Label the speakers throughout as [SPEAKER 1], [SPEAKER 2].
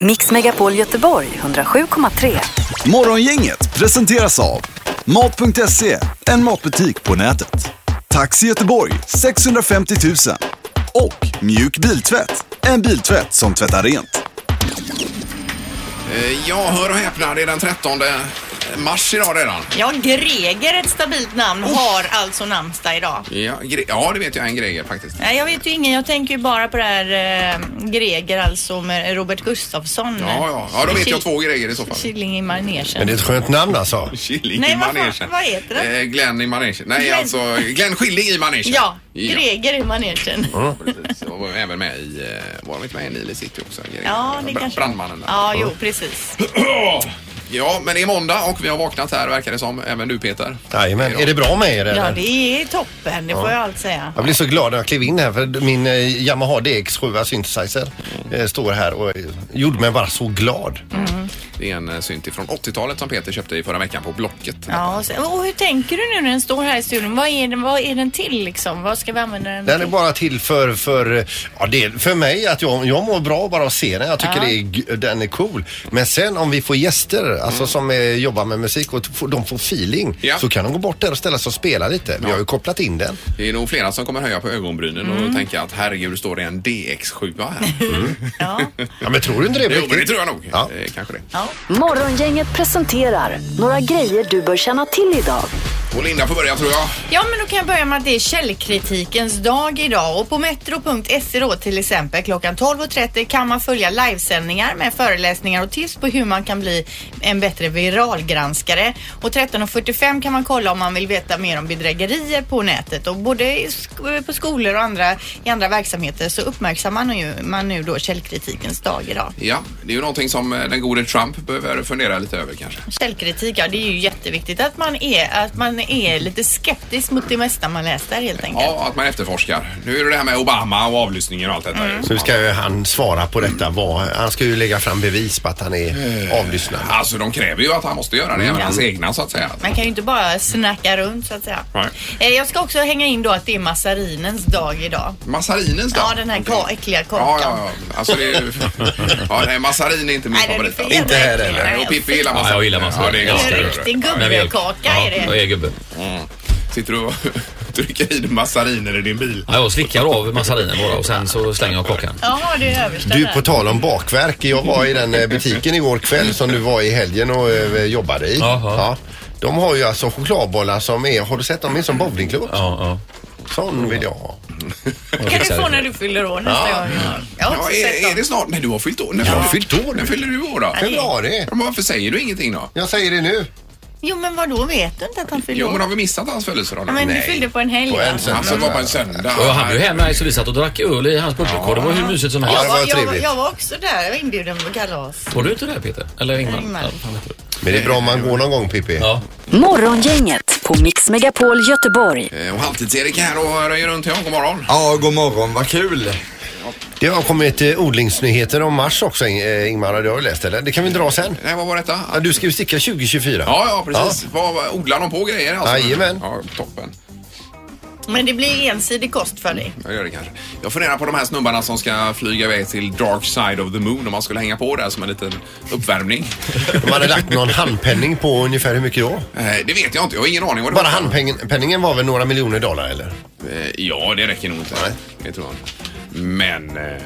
[SPEAKER 1] Mix Megapol Göteborg 107,3.
[SPEAKER 2] Morgongänget presenteras av Mat.se, en matbutik på nätet. Taxi Göteborg 650 000. Och Mjuk Biltvätt, en biltvätt som tvättar rent.
[SPEAKER 3] Eh, Ja, hör och häpna, det är den 13 mars idag redan.
[SPEAKER 4] Ja, Greger, ett stabilt namn, har alltså namnsdag idag.
[SPEAKER 3] Ja, gre- ja det vet jag en grej faktiskt.
[SPEAKER 4] Nej, jag vet ju ingen. Jag tänker ju bara på det här eh, Greger, alltså med Robert Gustafsson.
[SPEAKER 3] Ja, ja, ja då vet jag
[SPEAKER 4] Kyl-
[SPEAKER 3] två grejer i så fall.
[SPEAKER 4] Killing i manegen.
[SPEAKER 5] Men det är ett skönt namn alltså.
[SPEAKER 3] Killing
[SPEAKER 4] Nej,
[SPEAKER 3] i
[SPEAKER 4] vad fan-
[SPEAKER 3] manegen.
[SPEAKER 4] vad heter den?
[SPEAKER 3] Eh, Glenn i manegen. Nej,
[SPEAKER 4] Glenn.
[SPEAKER 3] alltså Glenn Skilling i manegen.
[SPEAKER 4] Ja,
[SPEAKER 3] ja
[SPEAKER 4] Greger i manegen.
[SPEAKER 3] precis. Och var även med i, eh, var de inte med i Nile City också? Greger?
[SPEAKER 4] Ja, det
[SPEAKER 3] Bra-
[SPEAKER 4] kanske...
[SPEAKER 3] Brandmannen där.
[SPEAKER 4] Ja, jo, precis.
[SPEAKER 3] Ja, men det är måndag och vi har vaknat här verkar det som. Även du Peter.
[SPEAKER 5] Jajamän. Är det bra med er
[SPEAKER 4] Ja,
[SPEAKER 5] eller?
[SPEAKER 4] det är toppen, det får jag allt säga.
[SPEAKER 5] Jag blev så glad när jag klev in här för min eh, Yamaha DX7 alltså synthesizer eh, står här och eh, gjorde mig bara så glad.
[SPEAKER 4] Mm.
[SPEAKER 3] Det är en eh, synt ifrån 80-talet som Peter köpte i förra veckan på Blocket.
[SPEAKER 4] Ja, och, sen, och hur tänker du nu när den står här i studion? Vad är den, vad är den till liksom? Vad ska vi använda den
[SPEAKER 5] Den är
[SPEAKER 4] till?
[SPEAKER 5] bara till för, för, eh, ja, det är för mig att jag, jag mår bra bara av att se den. Jag tycker det är, g- den är cool. Men sen om vi får gäster alltså, som eh, jobbar med musik och t- får- de får feeling
[SPEAKER 3] Ja.
[SPEAKER 5] så kan de gå bort där och ställa sig och spela lite. Vi har ju kopplat in den.
[SPEAKER 3] Det är nog flera som kommer höja på ögonbrynen och tänka att herregud, står det en DX7 här?
[SPEAKER 4] Ja.
[SPEAKER 5] Ja, men tror du inte det? på
[SPEAKER 3] Jo, men det
[SPEAKER 5] riktigt?
[SPEAKER 3] tror jag nog.
[SPEAKER 5] Ja.
[SPEAKER 3] Eh, kanske det.
[SPEAKER 4] ja.
[SPEAKER 1] Morgongänget presenterar några grejer du bör känna till idag.
[SPEAKER 3] Och Linda får börja tror jag.
[SPEAKER 4] Ja, men då kan jag börja med att det är källkritikens dag idag och på metro.se E då till exempel klockan 12.30 kan man följa livesändningar med föreläsningar och tips på hur man kan bli en bättre viralgranskare. Och 13.45 kan man kolla om man vill veta mer om bedrägerier på nätet och både i sk- på skolor och andra, i andra verksamheter så uppmärksammar man ju man nu då källkritikens dag idag.
[SPEAKER 3] Ja, det är ju någonting som eh, den gode Trump behöver fundera lite över kanske.
[SPEAKER 4] Källkritik, ja det är ju jätteviktigt att man är, att man är lite skeptisk mot det mesta man läser helt enkelt.
[SPEAKER 3] Ja, att man efterforskar. Nu är det det här med Obama och avlyssningen och allt detta. ju.
[SPEAKER 5] Nu ska ju han svara på detta. Vad, han ska ju lägga fram bevis på att han är avlyssnad.
[SPEAKER 3] Alltså, de kräver ju att han måste göra det, även hans egna så att säga.
[SPEAKER 4] Man kan ju inte bara snacka runt så att säga.
[SPEAKER 3] Nej.
[SPEAKER 4] Eh, Jag ska också hänga in då att det är massarinens dag idag.
[SPEAKER 3] Massarinens dag?
[SPEAKER 4] Ja, den här ka-
[SPEAKER 3] Okej.
[SPEAKER 4] äckliga
[SPEAKER 3] Ja,
[SPEAKER 4] korkan.
[SPEAKER 3] ja, ja. Alltså, det är ju... ja, nej, massarin är inte min
[SPEAKER 4] Nej, den är
[SPEAKER 3] favorit.
[SPEAKER 4] för
[SPEAKER 3] alltså.
[SPEAKER 5] Inte här heller.
[SPEAKER 3] Nej, och Pippi gillar massarin.
[SPEAKER 6] Ja, jag gillar massarin.
[SPEAKER 3] Ja, det är
[SPEAKER 6] Jag
[SPEAKER 4] En
[SPEAKER 3] ganska
[SPEAKER 6] älskar
[SPEAKER 3] gott.
[SPEAKER 4] riktig gubbkaka är
[SPEAKER 6] Ja, jag
[SPEAKER 4] det.
[SPEAKER 6] är gubbe.
[SPEAKER 3] Sitter du och trycker i dig massarin i din bil?
[SPEAKER 6] Ja, jag slickar av massarinen bara och sen så slänger jag kakan.
[SPEAKER 4] Jaha, det är översta
[SPEAKER 5] Du,
[SPEAKER 4] där.
[SPEAKER 5] på tal om bakverk. Jag var i den eh, butiken igår kväll som du var i helgen och eh, jobbade i.
[SPEAKER 6] Jaha.
[SPEAKER 5] Ja. De har ju alltså chokladbollar som är, har du sett dem? De är som bowlingklot.
[SPEAKER 6] Ja, ja.
[SPEAKER 5] Sån vill jag ha.
[SPEAKER 4] kan du få när du fyller år nästa gång. Jag har
[SPEAKER 3] Ja,
[SPEAKER 4] också sett
[SPEAKER 3] är, är
[SPEAKER 4] dem.
[SPEAKER 3] det snart? Nej, du har fyllt år. När
[SPEAKER 5] Jag har
[SPEAKER 3] fyller-
[SPEAKER 5] fyllt år
[SPEAKER 3] När
[SPEAKER 5] nu.
[SPEAKER 3] fyller du år då?
[SPEAKER 5] Februari.
[SPEAKER 3] Men varför säger du ingenting då?
[SPEAKER 5] Jag säger det nu.
[SPEAKER 4] Jo, men vad då vet du inte att han fyller
[SPEAKER 3] Jo, men
[SPEAKER 4] år?
[SPEAKER 3] har vi missat hans födelsedag nu?
[SPEAKER 4] Ja, men du fyllde på en helg.
[SPEAKER 5] På
[SPEAKER 4] va?
[SPEAKER 5] en söndag.
[SPEAKER 3] Alltså, det var på en söndag.
[SPEAKER 6] Och han bjöd hem mig så vi satt och drack öl i hans bubbelkorv. Det var hur mysigt som
[SPEAKER 5] Ja,
[SPEAKER 4] Jag
[SPEAKER 6] helst.
[SPEAKER 5] det var
[SPEAKER 4] var, jag, var,
[SPEAKER 5] trevligt.
[SPEAKER 4] jag var också där. Jag var inbjuden på kalas.
[SPEAKER 6] Var du inte där Peter? Eller Ingmar?
[SPEAKER 4] Ingmar.
[SPEAKER 6] Ja, han heter det.
[SPEAKER 5] Men det är bra om man går någon gång Pippi.
[SPEAKER 6] Ja.
[SPEAKER 1] Morgongänget på Mix Megapol Göteborg.
[SPEAKER 3] Eh, Och Halvtids-Erik är här och röjer runt. Ja, god morgon.
[SPEAKER 7] Ja, god morgon, vad kul.
[SPEAKER 5] Det har kommit eh, odlingsnyheter om mars också Ing- eh, Ingmar. Det har du läst eller? Det kan vi dra sen.
[SPEAKER 3] Nej, vad var detta?
[SPEAKER 5] Ja, Du ska ju sticka 2024.
[SPEAKER 3] Ja, ja, precis. Vad, odlar de på grejer alltså?
[SPEAKER 5] Jajamän.
[SPEAKER 3] Ja, toppen.
[SPEAKER 4] Men det blir ensidig kost för dig.
[SPEAKER 3] Jag gör det kanske. Jag funderar på de här snubbarna som ska flyga iväg till Dark Side of the Moon om man skulle hänga på där som en liten uppvärmning.
[SPEAKER 5] De hade lagt någon handpenning på ungefär hur mycket då?
[SPEAKER 3] Eh, det vet jag inte. Jag har ingen aning vad det
[SPEAKER 5] Bara
[SPEAKER 3] var.
[SPEAKER 5] handpenningen var väl några miljoner dollar eller?
[SPEAKER 3] Eh, Ja, det räcker nog inte.
[SPEAKER 5] Nej.
[SPEAKER 3] Det tror jag inte. Men... eh,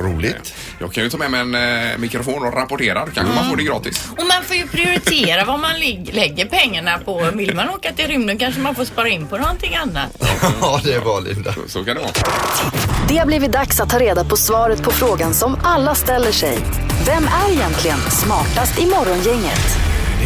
[SPEAKER 5] Roligt.
[SPEAKER 3] Jag kan ju ta med mig en eh, mikrofon och rapportera. Då kanske man får det gratis.
[SPEAKER 4] Och man får ju prioritera vad man lig- lägger pengarna på. Vill man åka till rymden kanske man får spara in på någonting annat.
[SPEAKER 7] Ja, det var Linda.
[SPEAKER 3] Så kan det vara.
[SPEAKER 1] Det har blivit dags att ta reda på svaret på frågan som alla ställer sig. Vem är egentligen smartast i morgongänget?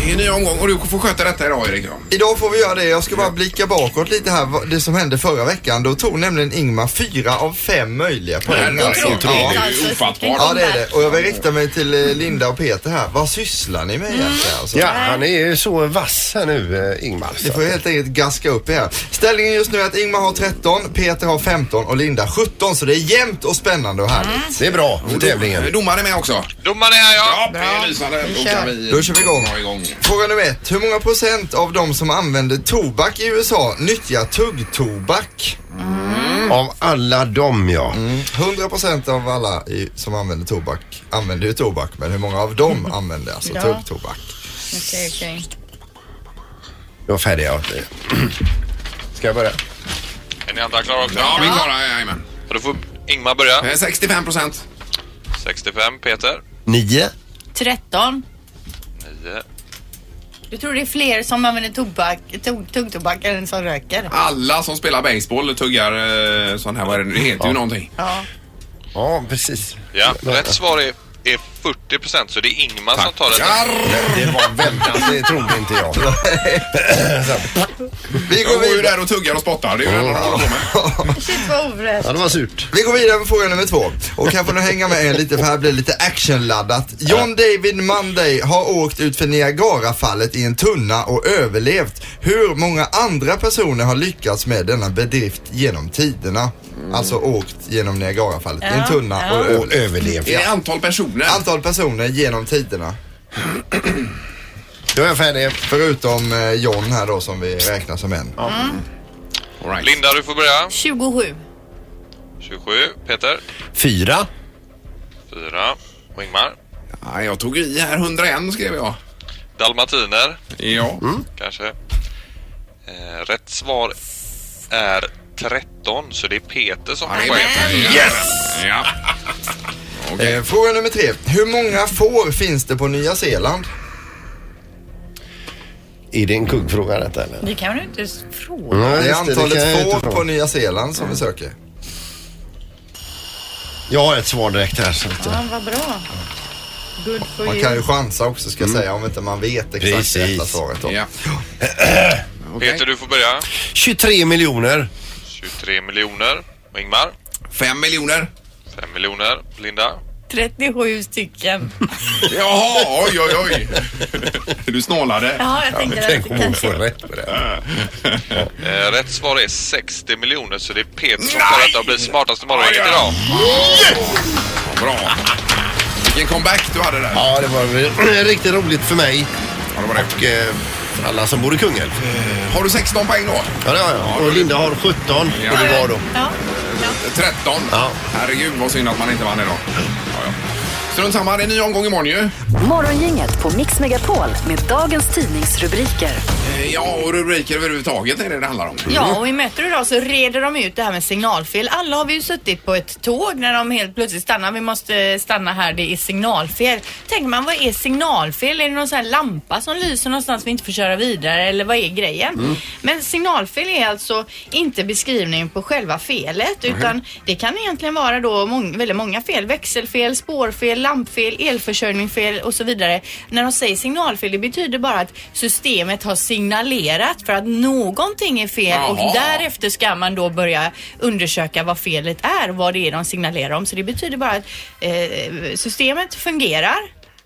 [SPEAKER 3] Det är en ny omgång och du får sköta detta idag Erik. då.
[SPEAKER 7] Idag får vi göra det. Jag ska bara blicka bakåt lite här, vad- det som hände förra veckan. Då tog nämligen Ingmar fyra av fem möjliga poäng.
[SPEAKER 3] Herregud,
[SPEAKER 7] alltså.
[SPEAKER 4] otroligt.
[SPEAKER 3] det är
[SPEAKER 7] Ja.
[SPEAKER 3] ju
[SPEAKER 4] Alltså,
[SPEAKER 3] ofattbart.
[SPEAKER 7] ja, det är det. Och jag vill rikta mig till eh, Linda och Peter här. Vad sysslar ni med egentligen? Alltså?
[SPEAKER 5] Ja, han är ju så vass här nu, eh, Ingmar.
[SPEAKER 7] Ni får helt enkelt gaska upp er här. Ställningen just nu är att Ingmar har 13, Peter har 15 och Linda 17. Så det är jämnt och spännande och härligt.
[SPEAKER 5] Det är bra för tävlingen.
[SPEAKER 3] Eh, Domaren är med också.
[SPEAKER 8] Domaren är här ja.
[SPEAKER 3] Ja, det är lysande. Då kan vi
[SPEAKER 7] Då kör vi igång.
[SPEAKER 3] dra igång.
[SPEAKER 7] Fråga nummer ett. Hur många procent av de som använder tobak i USA nyttjar tuggtobak?
[SPEAKER 5] Av alla dem ja.
[SPEAKER 7] Mm. 100% av alla i, som använder tobak använder ju tobak, men hur många av dem använder alltså
[SPEAKER 4] Ja.
[SPEAKER 7] tuggtobak?
[SPEAKER 4] Okej, okej.
[SPEAKER 5] Jag är färdig. Jag. Ska jag börja?
[SPEAKER 8] Är ni andra klara också?
[SPEAKER 3] Ja, vi är klara. Jajamän.
[SPEAKER 8] Så Då får Ingmar börja.
[SPEAKER 3] Eh, 65 procent.
[SPEAKER 8] 65, Peter.
[SPEAKER 5] Nio.
[SPEAKER 4] 13.
[SPEAKER 8] 9.
[SPEAKER 4] Du tror det är fler som använder tobak, tog, tuggtobak än som röker?
[SPEAKER 3] Alla som spelar baseball tuggar eh, sån här, vad är det nu? Det heter ju någonting.
[SPEAKER 4] Ja.
[SPEAKER 5] Ja, precis.
[SPEAKER 8] Ja, rätt svar är, är 40 procent, så det är Ingmar som tar det.
[SPEAKER 5] Det var väldigt... alltså, Det trodde inte jag.
[SPEAKER 7] Vi
[SPEAKER 3] Jag
[SPEAKER 7] går
[SPEAKER 3] går ju
[SPEAKER 7] vidare.
[SPEAKER 3] där och tuggar och spottar. Det är ju det enda de håller på med.
[SPEAKER 4] Shit vad orätt.
[SPEAKER 5] Ja, det var surt.
[SPEAKER 7] Vi går vidare med fråga nummer två. Och kan få nu hänga med er lite för här blir det lite actionladdat. John David Monday har åkt ut för Niagarafallet i en tunna och överlevt. Hur många andra personer har lyckats med denna bedrift genom tiderna? Alltså åkt genom Niagarafallet i en
[SPEAKER 4] Ja,
[SPEAKER 7] tunna
[SPEAKER 4] ja.
[SPEAKER 7] och
[SPEAKER 5] Och
[SPEAKER 7] överlevt.
[SPEAKER 5] överlevt.
[SPEAKER 3] Är det antal personer?
[SPEAKER 7] Antal personer genom tiderna.
[SPEAKER 5] Då är jag färdig.
[SPEAKER 7] Förutom eh, John här då som vi räknar som en.
[SPEAKER 3] All right.
[SPEAKER 8] Linda, du får börja.
[SPEAKER 4] 27.
[SPEAKER 8] 27, Peter.
[SPEAKER 5] Fyra.
[SPEAKER 8] 4. Och Ingmar.
[SPEAKER 3] Ja, jag tog i här. 101 skrev jag.
[SPEAKER 8] Dalmatiner,
[SPEAKER 3] Ja.
[SPEAKER 8] kanske. Eh, rätt svar är 13, så det är Peter som
[SPEAKER 3] Ja,
[SPEAKER 8] får
[SPEAKER 3] det är
[SPEAKER 8] poäng.
[SPEAKER 3] bättre. Yes! Ja.
[SPEAKER 7] Eh, fråga nummer tre. Hur många får finns det på Nya Zeeland?
[SPEAKER 5] Är det en kuggfråga detta eller?
[SPEAKER 4] Det kan du inte s- fråga.
[SPEAKER 7] Det
[SPEAKER 5] Ja,
[SPEAKER 7] är
[SPEAKER 5] just det kan jag
[SPEAKER 7] antalet
[SPEAKER 5] inte Mm.
[SPEAKER 7] får
[SPEAKER 5] fråga.
[SPEAKER 7] på Nya Zeeland som vi söker.
[SPEAKER 5] Jag har ett svar direkt här. Så att,
[SPEAKER 4] Ja, vad bra. Good for
[SPEAKER 7] Man
[SPEAKER 4] you.
[SPEAKER 7] kan ju chansa också ska jag säga om inte man vet exakt
[SPEAKER 5] Mm. Precis.
[SPEAKER 7] det rätta svaret. Då.
[SPEAKER 3] ja.
[SPEAKER 8] Peter, du får börja.
[SPEAKER 5] 23 miljoner.
[SPEAKER 8] 23 miljoner. Och Ingmar.
[SPEAKER 3] Fem miljoner.
[SPEAKER 8] 5 miljoner. Linda.
[SPEAKER 4] 37 stycken.
[SPEAKER 3] Jaha, oj, oj, oj. Du snålade.
[SPEAKER 4] Ja, jag tänkte att
[SPEAKER 5] Tänk
[SPEAKER 4] det
[SPEAKER 5] om hon
[SPEAKER 4] kanske...
[SPEAKER 5] får rätt på det.
[SPEAKER 8] Eh, rätt svar är 60 miljoner, så det är Peter som tar detta och blir smartast i morgon.
[SPEAKER 3] Ja, ja.
[SPEAKER 8] idag.
[SPEAKER 3] Bra. Vilken comeback du hade där.
[SPEAKER 5] Ja, det var väl riktigt roligt för mig
[SPEAKER 3] Ja, det var det.
[SPEAKER 5] och eh, för alla som bor i Kungälv.
[SPEAKER 3] Har du 16 poäng då?
[SPEAKER 5] Ja, det har jag. Och Linda har 17 och du var då.
[SPEAKER 4] Ja.
[SPEAKER 3] 13.
[SPEAKER 5] Ja.
[SPEAKER 3] Herregud, vad synd att man inte vann idag. Ja, ja. Strunt samma, det är en ny omgång imorgon ju.
[SPEAKER 1] Morgongänget på Mix Megapol med dagens tidningsrubriker.
[SPEAKER 3] Eh, Ja, och rubriker överhuvudtaget är det det handlar om.
[SPEAKER 4] Ja, och i Metro idag så reder de ut det här med signalfel. Alla har vi ju suttit på ett tåg när de helt plötsligt stannar. Vi måste stanna här, det är signalfel. Tänker man, vad är signalfel? Är det någon sån här lampa som lyser någonstans vi inte får köra vidare eller vad är grejen? Men signalfel är alltså inte beskrivningen på själva felet utan det kan egentligen vara då mång- väldigt många fel. Växelfel, spårfel, lampfel, elförsörjningsfel och så vidare. När de säger signalfel, det betyder bara att systemet har signalerat för att någonting är fel
[SPEAKER 3] Jaha.
[SPEAKER 4] och därefter ska man då börja undersöka vad felet är, vad det är de signalerar om. Så det betyder bara att eh, systemet fungerar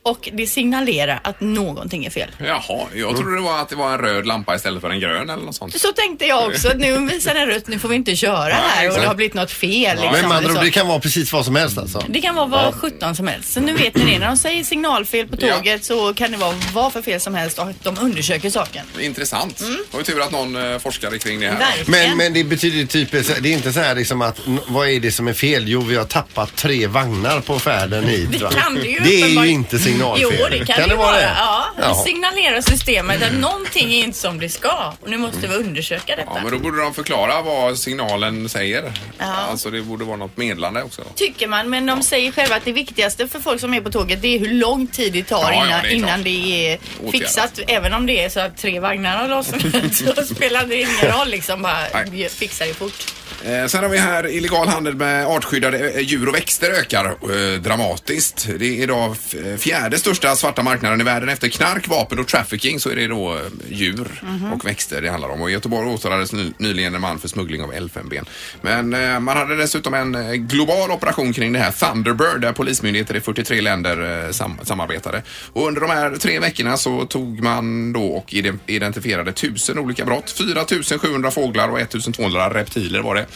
[SPEAKER 4] och det signalerar att någonting är fel.
[SPEAKER 3] Jaha, jag trodde det var att det var en röd lampa istället för en grön eller något sånt.
[SPEAKER 4] Så tänkte jag också att nu visar den rött, nu får vi inte köra här och det har blivit något fel. Liksom,
[SPEAKER 5] Men man
[SPEAKER 4] eller så.
[SPEAKER 5] andra, det kan vara precis vad som helst alltså.
[SPEAKER 4] Det kan vara vad 17 som helst. Så nu vet ni det. När de säger signalfel på
[SPEAKER 3] Ja.
[SPEAKER 4] tåget så kan det vara vad för fel som helst och att de undersöker saken.
[SPEAKER 3] Intressant. Det var ju tur att någon eh, forskade kring det här.
[SPEAKER 4] Mm. Verkligen.
[SPEAKER 5] Men, men det betyder typ, det är inte så här liksom att n- vad är det som är fel? Jo, vi har tappat tre vagnar på färden hit.
[SPEAKER 4] Det
[SPEAKER 5] va?
[SPEAKER 4] kan det ju
[SPEAKER 5] det är ju
[SPEAKER 4] uppenbarligen.
[SPEAKER 5] inte signalfel.
[SPEAKER 4] Jo, det kan, det ju vara. Ja,
[SPEAKER 5] Jaha.
[SPEAKER 4] då signalerar systemet att någonting är inte som det ska och nu måste vi undersöka detta.
[SPEAKER 3] Ja, men då borde de förklara vad signalen säger.
[SPEAKER 4] Ja.
[SPEAKER 3] Alltså det borde vara något medlande också.
[SPEAKER 4] Tycker man, men de säger själva att det viktigaste för folk som är på tåget det är hur lång tid det tar
[SPEAKER 3] Ja, ja,
[SPEAKER 4] innan,
[SPEAKER 3] det är
[SPEAKER 4] innan
[SPEAKER 3] klart.
[SPEAKER 4] det är
[SPEAKER 3] Åtgärdat.
[SPEAKER 4] fixat. Även om det är så att tre vagnar har lossnat så spelar det ingen roll liksom. Bara
[SPEAKER 3] Nej.
[SPEAKER 4] fixa det fort.
[SPEAKER 3] Eh, sen har vi här illegal handel med artskyddade eh, djur och växter ökar eh, dramatiskt. Det är idag f- eh, fjärde största svarta marknaden i världen. Efter knark, vapen och trafficking så är det då eh, djur och växter det handlar om. Och i Göteborg åtalades ny- nyligen en man för smuggling av elfenben. Men eh, man hade dessutom en eh, global operation kring det här, Thunderbird, där polismyndigheter i 43 länder eh, sam- samarbetade. Och under de här tre veckorna så tog man då och ide- identifierade tusen olika brott. 4 700 fåglar och 1200 reptiler var det.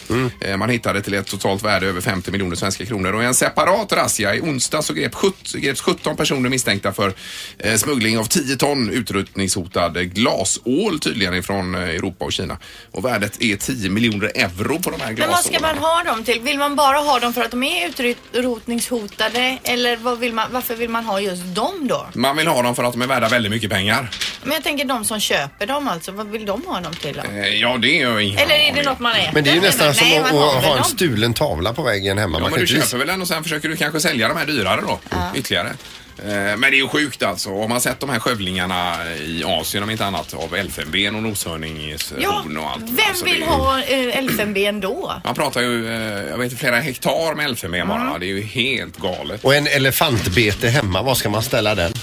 [SPEAKER 3] Eh, Man hittade till ett totalt värde över 50 miljoner svenska kronor. Och i en separat razzia i onsdag så grep sjut- greps 17 personer misstänkta för eh, smuggling av 10 ton utrotningshotad glasål tydligen ifrån eh, Europa och Kina. Och värdet är 10 miljoner euro på de här
[SPEAKER 4] Men
[SPEAKER 3] glasålarna.
[SPEAKER 4] vad ska man ha dem till? Vill man bara ha dem för att de är utrotningshotade? Eller vad vill man, varför vill man ha just dem då?
[SPEAKER 3] Man vill ha dem för att de är värda väldigt mycket pengar.
[SPEAKER 4] Men jag tänker de som köper dem alltså, vad vill de ha dem till då?
[SPEAKER 3] Eh, Ja, det är ju ingen
[SPEAKER 4] Eller är det
[SPEAKER 3] aning.
[SPEAKER 4] något man äter?
[SPEAKER 5] Men det är ju
[SPEAKER 4] menar?
[SPEAKER 5] nästan som
[SPEAKER 4] Nej,
[SPEAKER 5] att
[SPEAKER 4] man har
[SPEAKER 5] att
[SPEAKER 4] väl
[SPEAKER 5] ha en
[SPEAKER 4] dem.
[SPEAKER 5] stulen tavla på väggen hemma. Man
[SPEAKER 3] Ja, men
[SPEAKER 5] kan
[SPEAKER 3] du
[SPEAKER 5] inte
[SPEAKER 3] köper väl den och sen försöker du kanske sälja de här dyrare då ytterligare. Eh, Men det är ju sjukt alltså. Har man sett de här skövlingarna i Asien om inte annat av elfenben och noshörningshorn
[SPEAKER 4] Ja,
[SPEAKER 3] och allt.
[SPEAKER 4] vem
[SPEAKER 3] Alltså, det
[SPEAKER 4] vill
[SPEAKER 3] är-
[SPEAKER 4] ha eh, elfenben då?
[SPEAKER 3] Man pratar ju, eh, jag vet inte, flera hektar med elfenben bara. Det är ju helt galet.
[SPEAKER 5] Och en elefantbete hemma, var ska man ställa den?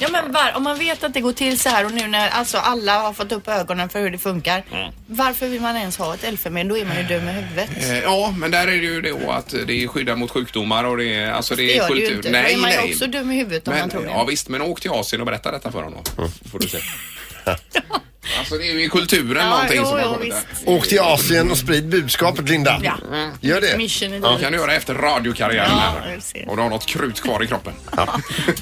[SPEAKER 4] Ja men var, om man vet att det går till så här och nu när alltså alla har fått upp ögonen för hur det funkar. Varför vill man ens ha ett elfenben? Då är man ju dum i huvudet.
[SPEAKER 3] Eh, Ja, men där är det ju då att det är skyddat mot sjukdomar och det är, alltså det är
[SPEAKER 4] Det gör det ju
[SPEAKER 3] kultur.
[SPEAKER 4] inte.
[SPEAKER 3] Nej,
[SPEAKER 4] då är man
[SPEAKER 3] nej.
[SPEAKER 4] ju också dum i huvudet om
[SPEAKER 3] men,
[SPEAKER 4] man tror det.
[SPEAKER 3] ja visst, men åk till Asien och berätta detta för honom då. Får du se. alltså det är ju i kulturen
[SPEAKER 4] Ja,
[SPEAKER 3] någonting
[SPEAKER 4] jo,
[SPEAKER 3] som har
[SPEAKER 4] jo,
[SPEAKER 3] kommit där.
[SPEAKER 4] visst.
[SPEAKER 5] Åk till Asien och sprid budskapet, Linda.
[SPEAKER 4] Ja.
[SPEAKER 5] Gör det.
[SPEAKER 4] Mission är
[SPEAKER 3] Ja.
[SPEAKER 4] ja,
[SPEAKER 3] Det kan du göra efter radiokarriären.
[SPEAKER 4] Ja,
[SPEAKER 3] här.
[SPEAKER 4] jag ser.
[SPEAKER 3] och du har något krut kvar i kroppen.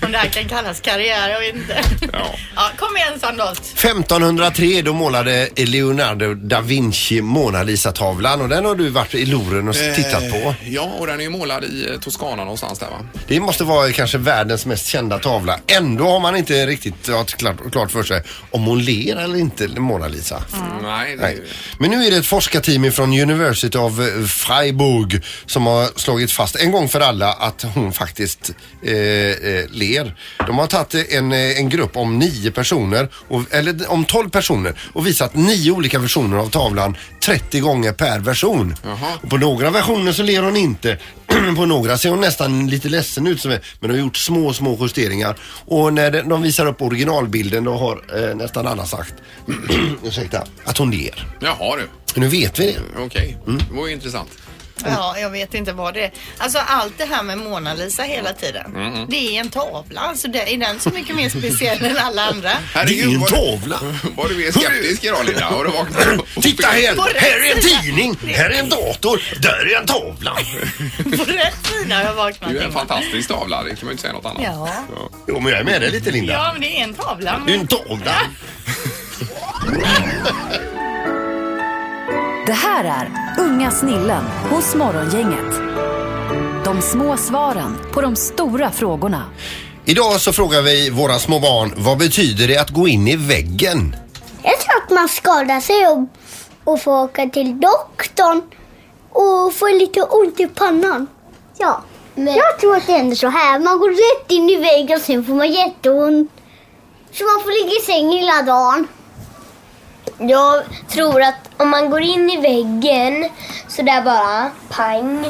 [SPEAKER 4] Om det här kan kallas karriär, jag vet inte.
[SPEAKER 3] Ja.
[SPEAKER 4] ja, kom igen Sandholt.
[SPEAKER 5] 1503 då målade Leonardo da Vinci Mona Lisa-tavlan och den har du varit i Loren och tittat på.
[SPEAKER 3] Ja, och den är ju målad i eh, Toscana någonstans där va?
[SPEAKER 5] Det måste vara kanske världens mest kända tavla. Ändå har man inte riktigt haft klart, klart för sig om hon ler eller inte, Mona Lisa.
[SPEAKER 3] Mm. Nej, det är
[SPEAKER 5] Nej.
[SPEAKER 3] ju...
[SPEAKER 5] Men nu är det ett forskarteam från University of eh, Freiburg som har slagit fast en gång för alla att hon faktiskt eh, eh, ler. De har tagit eh, en, eh, en grupp om nio personer, och, eller om tolv personer och visat nio olika versioner av tavlan 30 gånger per version. Och på några versioner så ler hon inte. på några ser hon nästan lite ledsen ut. som är- Men de har gjort små, små justeringar. Och när de- de visar upp originalbilden då har eh, nästan alla sagt, ursäkta, att hon ler.
[SPEAKER 3] Jaha du,
[SPEAKER 5] Nu vet vi det.
[SPEAKER 3] okej.
[SPEAKER 5] Mm.
[SPEAKER 3] Det var ju intressant.
[SPEAKER 4] Ja, jag vet inte vad det är. Alltså allt det här med Mona Lisa hela tiden. Det är en tavla. Alltså det, är den så mycket mer speciell än alla andra?
[SPEAKER 5] Det är ju en
[SPEAKER 3] vad du-
[SPEAKER 5] tavla.
[SPEAKER 3] Vad du är skeptisk idag Linda. Har du vaknat upp?
[SPEAKER 5] Titta
[SPEAKER 4] På
[SPEAKER 5] här!
[SPEAKER 4] rätt
[SPEAKER 5] Här är en
[SPEAKER 4] sida.
[SPEAKER 5] tidning, här är en dator, där är en tavla.
[SPEAKER 4] På rätt sida har jag vaknat.
[SPEAKER 3] Det är ju en
[SPEAKER 4] Ingmar.
[SPEAKER 3] fantastisk tavla, det kan man ju inte säga något annat.
[SPEAKER 4] Ja.
[SPEAKER 5] Jo, men jag är med dig lite Linda.
[SPEAKER 4] Ja, men det är en tavla.
[SPEAKER 5] Det är
[SPEAKER 4] Men...
[SPEAKER 5] ju en tavla.
[SPEAKER 1] Det här är Unga snillen hos Morgongänget. De små svaren på de stora frågorna.
[SPEAKER 5] Idag så frågar vi våra små barn, vad betyder det att gå in i väggen?
[SPEAKER 9] Jag tror att man skadar sig och, och får åka till doktorn och får lite ont i pannan. Ja, jag tror att det händer så här. Man går rätt in i väggen och sen får man jätteont. Så man får ligga i sängen hela dagen. Jag tror att om man går in i väggen så där bara, pang,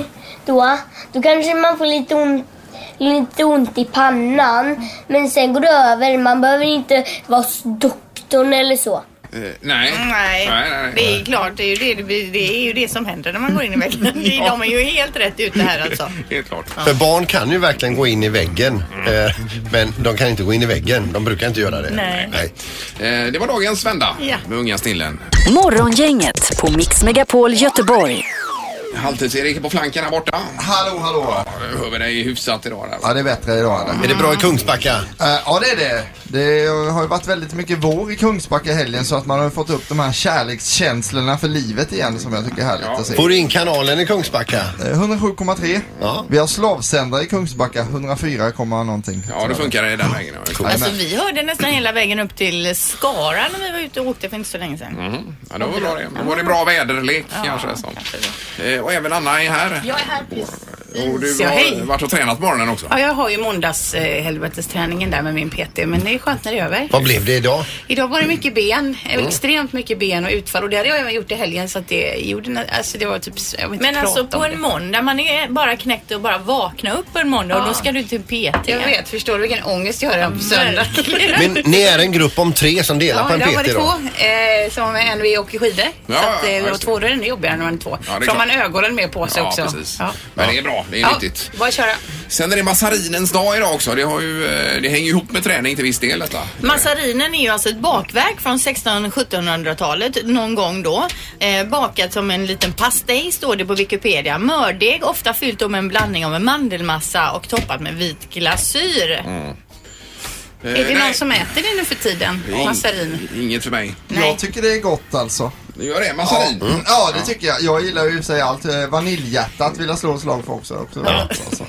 [SPEAKER 9] då, då kanske man får lite ont, lite ont i pannan. Men sen går det över. Man behöver inte vara hos doktorn eller så.
[SPEAKER 3] Eh, nej.
[SPEAKER 4] Nej.
[SPEAKER 3] nej, nej, nej.
[SPEAKER 4] det är klart. Det är, ju det, det, blir- det är ju det som händer när man går in i väggen. Det- De är ju helt rätt ute här alltså.
[SPEAKER 3] Helt klart.
[SPEAKER 5] För barn kan ju verkligen gå in i väggen. eh, Men de kan inte gå in i väggen. De brukar inte göra det.
[SPEAKER 4] Nej.
[SPEAKER 3] Eh, det var dagens vända
[SPEAKER 4] Ja.
[SPEAKER 3] med unga snillen.
[SPEAKER 1] Morgongänget på Mix Megapol Göteborg.
[SPEAKER 3] Halvtids-Erik är på flanken här borta.
[SPEAKER 7] Hallå, hallå.
[SPEAKER 3] Jag hör vi dig hyfsat idag där.
[SPEAKER 7] Ja, det är bättre idag eller?
[SPEAKER 5] Är det bra i Kungsbacka?
[SPEAKER 7] Eh, ja det är det. Det har ju varit väldigt mycket vår i Kungsbacka i helgen så att man har fått upp de här kärlekskänslorna för livet igen som jag tycker är härligt att se.
[SPEAKER 5] Får du in kanalen i Kungsbacka?
[SPEAKER 7] Eh, 107,3.
[SPEAKER 5] Ja.
[SPEAKER 7] Vi har slavsändare i Kungsbacka, 104, komma någonting.
[SPEAKER 3] Ja, då funkar det den vägen. ja.
[SPEAKER 4] Alltså vi hörde nästan hela vägen upp till Skara när vi var ute och åkte för inte så länge sedan.
[SPEAKER 3] Ja, det var bra det. Då var det bra väderlek kanske. Som. Eh, och även Anna är här.
[SPEAKER 10] Jag är här precis.
[SPEAKER 3] Och du
[SPEAKER 10] Så, hej.
[SPEAKER 3] har varit och tränat morgonen också.
[SPEAKER 10] Ja, jag har ju måndagshelvetesträningen där med min PT, men det är skönt när det är över.
[SPEAKER 5] Vad blev det idag?
[SPEAKER 10] Idag var det mycket ben, eh, extremt mycket ben och utfall och det hade jag även gjort i helgen så att det gjorde, nä- alltså det var typ, jag vill inte
[SPEAKER 4] Men
[SPEAKER 10] prata
[SPEAKER 4] alltså
[SPEAKER 10] om
[SPEAKER 4] på
[SPEAKER 10] det.
[SPEAKER 4] en måndag, man är bara knäckt och bara vakna upp på en måndag och då ska du till PT.
[SPEAKER 10] Jag vet, förstår du vilken ångest jag hade på söndag?
[SPEAKER 5] Men ni är en grupp om tre som delar
[SPEAKER 10] Ja,
[SPEAKER 5] på en
[SPEAKER 10] idag var
[SPEAKER 5] PT
[SPEAKER 10] det
[SPEAKER 5] idag.
[SPEAKER 10] två eh, som en vi åker skidor.
[SPEAKER 3] Ja,
[SPEAKER 10] så att
[SPEAKER 3] ja,
[SPEAKER 10] eh, vi
[SPEAKER 3] just
[SPEAKER 10] var
[SPEAKER 3] det.
[SPEAKER 10] två, då är det ännu jobbigare när man är två.
[SPEAKER 3] Ja, det är
[SPEAKER 10] För har man
[SPEAKER 3] klart.
[SPEAKER 10] ögonen med på sig
[SPEAKER 3] Ja,
[SPEAKER 10] också.
[SPEAKER 3] precis. Men det är bra. Det är nyttigt.
[SPEAKER 10] bara köra.
[SPEAKER 3] Sen är det massarinens dag idag också. Det, har ju, eh, det hänger ju ihop med träning till viss del detta.
[SPEAKER 4] Massarinen är ju alltså ett bakverk från 1600-1700-talet någon gång då. Eh, bakat som en liten pastej står det på Wikipedia. Mördeg, ofta fyllt då med en blandning av en mandelmassa och toppat med vit glasyr.
[SPEAKER 10] Är det
[SPEAKER 3] Eh,
[SPEAKER 10] någon
[SPEAKER 3] nej.
[SPEAKER 10] som äter det nu för tiden?
[SPEAKER 3] Det är ing-
[SPEAKER 10] Massarin?
[SPEAKER 3] Inget för mig.
[SPEAKER 7] Jag tycker det är gott alltså.
[SPEAKER 3] Det gör det, massarin.
[SPEAKER 7] Ja, Mm. ja, det tycker jag. Jag gillar ju i och för sig allt. Eh, Vaniljhjärtat vill jag slå ett slag för också. också. Alltså.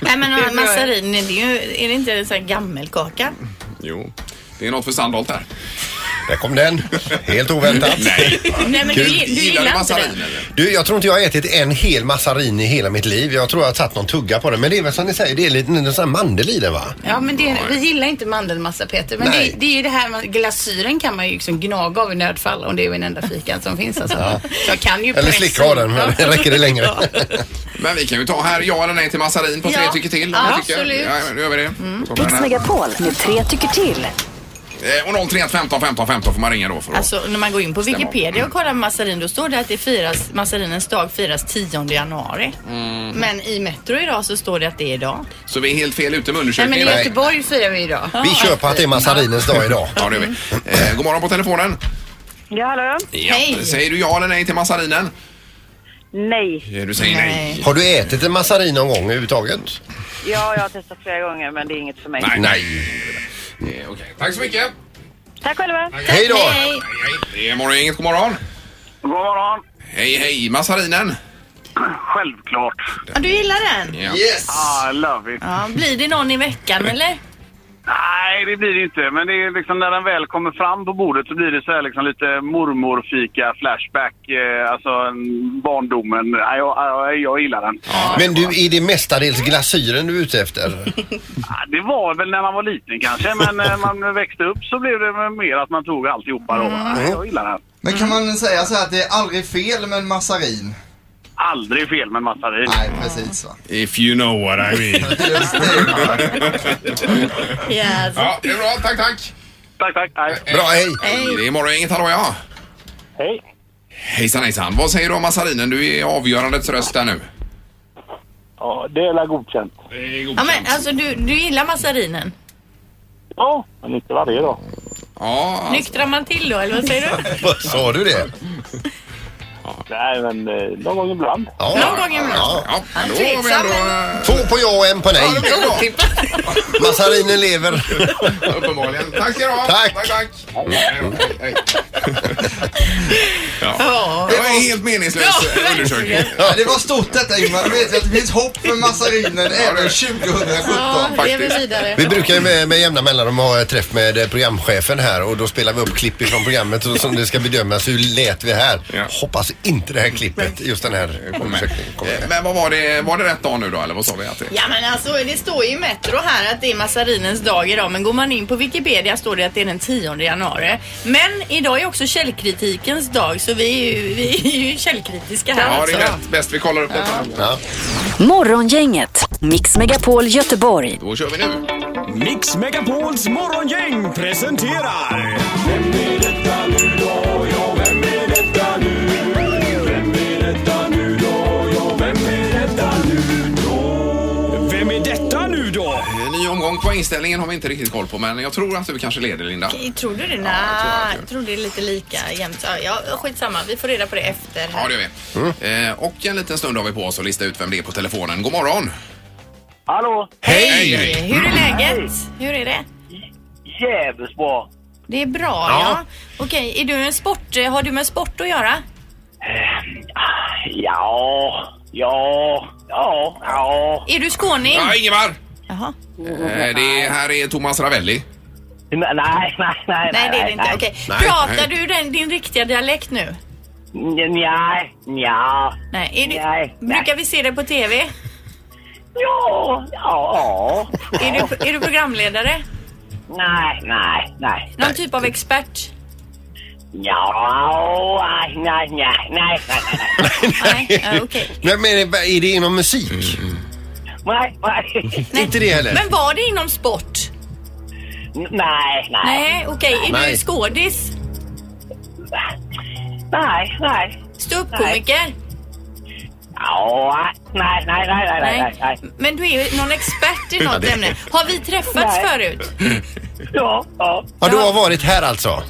[SPEAKER 4] Nej men
[SPEAKER 10] Det är bra.
[SPEAKER 4] massarin, är det, ju, är det inte en sån här gammelkaka?
[SPEAKER 3] Jo. Det är något för Sandholt där.
[SPEAKER 5] Där kom den. Helt oväntat.
[SPEAKER 3] Nej.
[SPEAKER 4] Nej men du,
[SPEAKER 5] Kul.
[SPEAKER 4] du gillar inte
[SPEAKER 3] massarin
[SPEAKER 4] den?
[SPEAKER 3] eller?
[SPEAKER 5] Du, jag tror inte jag har ätit en hel massarin i hela mitt liv. Jag tror jag har tagit någon tugga på den. Men det är väl som ni säger, det är lite en sån här mandel i den va?
[SPEAKER 10] Ja, men det, vi gillar inte mandelmassa Peter. Men
[SPEAKER 5] Nej.
[SPEAKER 10] det, det är ju det här med glasyren kan man ju liksom gnaga av i nödfall om det är den enda fikan som finns. Alltså. Så jag kan ju
[SPEAKER 5] Eller
[SPEAKER 10] pressa
[SPEAKER 5] slicka av den,
[SPEAKER 10] in-
[SPEAKER 5] men räcker det längre?
[SPEAKER 10] Ja.
[SPEAKER 3] Men vi kan ju ta här ja eller nej till massarin på tre
[SPEAKER 4] Ja.
[SPEAKER 3] tycker till.
[SPEAKER 4] Ja,
[SPEAKER 3] tycker jag.
[SPEAKER 4] absolut.
[SPEAKER 3] Ja, nu gör vi det.
[SPEAKER 10] Mm.
[SPEAKER 3] Så den
[SPEAKER 1] Mix
[SPEAKER 3] här.
[SPEAKER 1] Megapol med tre tycker till.
[SPEAKER 3] Eh, Och 031 15 15 15 får man ringa då för att...
[SPEAKER 4] Alltså när man går in på
[SPEAKER 3] Stämmer.
[SPEAKER 4] Wikipedia och kollar massarin då står det att det firas, massarinens dag firas 10 januari.
[SPEAKER 5] Mm.
[SPEAKER 4] Men i Metro idag så står det att det är idag.
[SPEAKER 3] Så vi är helt fel ute med
[SPEAKER 10] Nej, men
[SPEAKER 3] undersökningen.
[SPEAKER 10] i Göteborg firar vi idag.
[SPEAKER 5] Vi köper att det är massarinens dag idag.
[SPEAKER 3] Ja, det är vi. Eh, god morgon på telefonen.
[SPEAKER 11] Ja, hallå?
[SPEAKER 3] Ja.
[SPEAKER 4] Hej.
[SPEAKER 3] Säger du ja eller nej till massarinen?
[SPEAKER 11] Nej.
[SPEAKER 3] Eh, Du säger nej.
[SPEAKER 4] Nej.
[SPEAKER 5] Har du ätit en massarin någon gång överhuvudtaget?
[SPEAKER 11] Ja, jag har testat flera gånger men det är inget för mig.
[SPEAKER 3] Nej. Eh, okej. Tack så mycket.
[SPEAKER 11] Tack själva.
[SPEAKER 5] Hej då!
[SPEAKER 4] Nej.
[SPEAKER 3] Hej, hej. Det är morgongänget. God morgon.
[SPEAKER 11] God morgon.
[SPEAKER 3] Hej, hej. Massarinen.
[SPEAKER 11] Självklart.
[SPEAKER 4] Ja, du gillar den?
[SPEAKER 3] Ja.
[SPEAKER 7] Yes!
[SPEAKER 11] Ah, I love it.
[SPEAKER 4] Ja, blir det någon i veckan eller?
[SPEAKER 11] Nej, det blir det inte. Men det är liksom när den väl kommer fram på bordet så blir det så här liksom lite mormorfika, flashback, eh, alltså en barndomen. Nej, jag, jag, jag gillar den.
[SPEAKER 5] Men du, är det mestadels glasyren du är ute efter?
[SPEAKER 11] Ah, Det var väl när man var liten kanske, men när man växte upp så blev det mer att man tog alltihopa då. Nej, Jag gillar den.
[SPEAKER 7] Men kan man säga så här att det är aldrig fel med en massarin?
[SPEAKER 11] Aldrig fel med massarin.
[SPEAKER 7] Nej, precis va.
[SPEAKER 3] If you know what I mean.
[SPEAKER 7] Just det.
[SPEAKER 4] Yes.
[SPEAKER 3] ja, det är bra. Tack, tack.
[SPEAKER 11] Tack, tack. Nej.
[SPEAKER 5] Bra, hej!
[SPEAKER 3] Det är morgongänget. Hallå, ja.
[SPEAKER 11] Hej.
[SPEAKER 3] Hejsan, hejsan. Vad säger du om massarinen? Du är avgörandets röst där nu.
[SPEAKER 11] Ja, det är godkänt.
[SPEAKER 3] Det är
[SPEAKER 4] Ja, men alltså du, du gillar massarinen?
[SPEAKER 11] Ja, men inte varje dag.
[SPEAKER 3] Ja, alltså.
[SPEAKER 4] Nyktrar man till då eller vad säger du?
[SPEAKER 5] Vad Sa du det?
[SPEAKER 11] Nej, men eh, någon gång ibland.
[SPEAKER 5] Ja.
[SPEAKER 4] Någon gång ibland.
[SPEAKER 5] Ja.
[SPEAKER 3] ja, men då har vi ändå... eh,
[SPEAKER 5] Två på ja och en på nej.
[SPEAKER 3] Ja, det blir bra.
[SPEAKER 5] Massarinen lever.
[SPEAKER 3] Uppenbarligen. Tack ska du ha.
[SPEAKER 5] Tack.
[SPEAKER 3] tack. tack. Hej, hej. ja. Det var en helt meningslös eh, undersökning.
[SPEAKER 7] Ja, det var stort detta Ingmar. Du vet ju att det finns hopp för massarinen även 2017.
[SPEAKER 4] Ja, lever
[SPEAKER 3] faktiskt.
[SPEAKER 4] vidare.
[SPEAKER 5] Vi brukar ju med, med jämna mellanrum ha ett träff med eh, programchefen här och då spelar vi upp klipp ifrån programmet och som det ska bedömas hur lät vi här.
[SPEAKER 3] Ja.
[SPEAKER 5] Hoppas inte det här klippet, just den här
[SPEAKER 3] Kom med.
[SPEAKER 5] undersökningen kommer
[SPEAKER 3] Eh,
[SPEAKER 5] med.
[SPEAKER 3] Men vad var det, var det rätt dag nu då eller vad sa vi att det
[SPEAKER 4] Ja men alltså det står ju i Metro här att det är massarinens dag idag men går man in på Wikipedia står det att det är den 10 januari. Men idag är också källkritikens dag så vi är ju, vi är ju källkritiska här
[SPEAKER 3] Ja, det
[SPEAKER 4] också.
[SPEAKER 3] är rätt. Bäst vi kollar upp detta.
[SPEAKER 5] Ja.
[SPEAKER 1] Morgongänget, Mix Megapol Göteborg.
[SPEAKER 3] Då kör vi nu.
[SPEAKER 12] Mix Megapols morgongäng presenterar... Vem är detta nu då?
[SPEAKER 3] En Eh, ny omgång. Poängställningen har vi inte riktigt koll på men jag tror att du kanske leder Linda.
[SPEAKER 4] Tror du det? Nej, jag tror det är lite lika jämt. Ja, ja, skitsamma, vi får reda på det efter.
[SPEAKER 3] Ja,
[SPEAKER 4] Här.
[SPEAKER 3] det gör vi.
[SPEAKER 5] Mm.
[SPEAKER 3] Eh, och en liten stund har vi på oss att lista ut vem det är på telefonen. God morgon!
[SPEAKER 11] Hallå?
[SPEAKER 3] Hej, hej.
[SPEAKER 4] Hur är läget? Hur är det?
[SPEAKER 11] Jävligt bra.
[SPEAKER 4] Det är bra ja. Okej, är du en sport, eh, har du med sport att göra?
[SPEAKER 11] Eh, Ja, ja, ja, ja.
[SPEAKER 4] Är du skåning?
[SPEAKER 3] Ja, Ingemar!
[SPEAKER 4] Jaha.
[SPEAKER 3] Eh, det här är Thomas Ravelli.
[SPEAKER 11] Nej, nej, nej, nej.
[SPEAKER 4] Nej det är det inte. Okej.
[SPEAKER 3] Nej.
[SPEAKER 4] Pratar
[SPEAKER 3] Nej.
[SPEAKER 4] du den, din riktiga dialekt nu?
[SPEAKER 11] Nej, nja.
[SPEAKER 4] Nej. Är du,
[SPEAKER 11] Nej.
[SPEAKER 4] Brukar vi se dig på TV?
[SPEAKER 11] Ja, ja.
[SPEAKER 4] Är du, är du programledare?
[SPEAKER 11] Nej, nej, nej.
[SPEAKER 4] Någon typ av expert?
[SPEAKER 11] Ja, nej, nej, nej, nej, nej,
[SPEAKER 4] Nej, ja, okej.
[SPEAKER 5] Nej, men är det- är det inom musik?
[SPEAKER 3] Mm.
[SPEAKER 11] nej, nej,
[SPEAKER 4] Nej.
[SPEAKER 5] Inte det heller?
[SPEAKER 4] Men var det inom sport?
[SPEAKER 11] nej, nej,
[SPEAKER 4] Nej, okej. Är
[SPEAKER 5] Nej.
[SPEAKER 4] du skådis?
[SPEAKER 11] nej, nej,
[SPEAKER 4] Ståuppkomiker?
[SPEAKER 13] Ja, nej, nej, nej, nej, nej, nej.
[SPEAKER 4] Men du är ju någon expert i
[SPEAKER 5] Ja,
[SPEAKER 4] något
[SPEAKER 5] det-
[SPEAKER 4] ämne. Har vi träffats
[SPEAKER 13] Nej.
[SPEAKER 4] förut?
[SPEAKER 13] Ja, ja.
[SPEAKER 5] Ja, du har varit här alltså?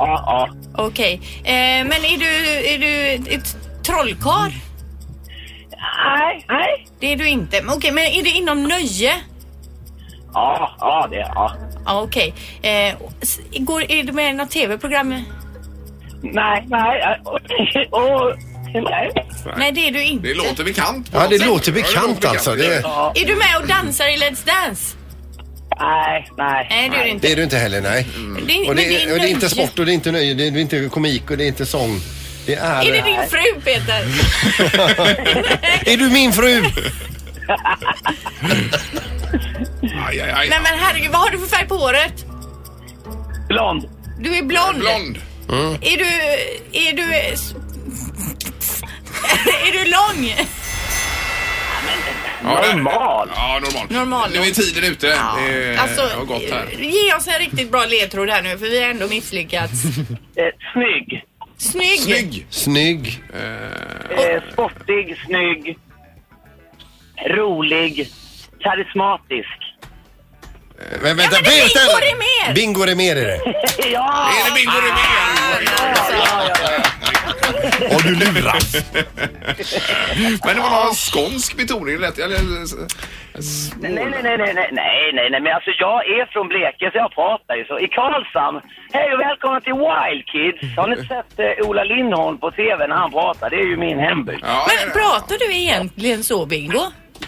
[SPEAKER 13] Ja, ja.
[SPEAKER 4] Okej. Eh, men är du, är du ett trollkarl?
[SPEAKER 13] Nej, nej.
[SPEAKER 4] Det är du inte. Men Okej, men är det inom nöje?
[SPEAKER 13] Ja, ja, det, ja.
[SPEAKER 4] Ja, okej. Eh, s- går, är du med i något tv-program?
[SPEAKER 13] Nej, nej, åh, nej.
[SPEAKER 4] Nej, det är du inte.
[SPEAKER 3] Det låter bekant.
[SPEAKER 5] Ja, det låter bekant alltså. Det,
[SPEAKER 4] Är du med och dansar i Let's Dance?
[SPEAKER 13] Nej, nej.
[SPEAKER 4] Nej, det är du inte.
[SPEAKER 5] det är du inte heller, nej. Mm.
[SPEAKER 4] Det är-
[SPEAKER 5] Och
[SPEAKER 4] men det
[SPEAKER 5] det,
[SPEAKER 4] är
[SPEAKER 5] är, och det är inte
[SPEAKER 4] nöje.
[SPEAKER 5] sport och det är inte nöje, det är inte komik och det är inte sång. Det är...
[SPEAKER 4] Är det din fru, Peter?
[SPEAKER 5] är du min fru?
[SPEAKER 3] Aj, aj,
[SPEAKER 4] Nej, men herregud, vad har du för färg på håret?
[SPEAKER 13] Blond.
[SPEAKER 4] Du är blond.
[SPEAKER 3] Blond.
[SPEAKER 4] Är du... Är du... är du lång?
[SPEAKER 3] normal. Ja, normal.
[SPEAKER 4] Normal.
[SPEAKER 3] Nu är tiden ute. Det är-
[SPEAKER 4] Alltså,
[SPEAKER 3] har gått här.
[SPEAKER 4] ge oss en riktigt bra ledtråd här nu för vi har ändå misslyckats.
[SPEAKER 13] Snygg.
[SPEAKER 4] Snygg!
[SPEAKER 5] Snygg.
[SPEAKER 13] Eh, sportig, snygg, rolig, karismatisk.
[SPEAKER 5] Men Eh, vänta,
[SPEAKER 13] Ja, men det är
[SPEAKER 5] Peter!
[SPEAKER 13] Bingo
[SPEAKER 5] Bingo
[SPEAKER 13] Rimér!
[SPEAKER 5] Rimér är det.
[SPEAKER 13] ja!
[SPEAKER 3] Är det bingo
[SPEAKER 5] Har du lurat?
[SPEAKER 3] Men det var någon skånsk betoning. Lätt. Eller,
[SPEAKER 13] Nej, nej, nej, nej, nej, nej, nej, nej, men alltså jag är från Blekinge så jag pratar ju så. I Karlshamn, hej och välkomna till Wild Kids. Har ni sett eh, Ola Lindholm på TV när han pratar? Det är ju min hembygd.
[SPEAKER 4] Men pratar du egentligen så, Bingo?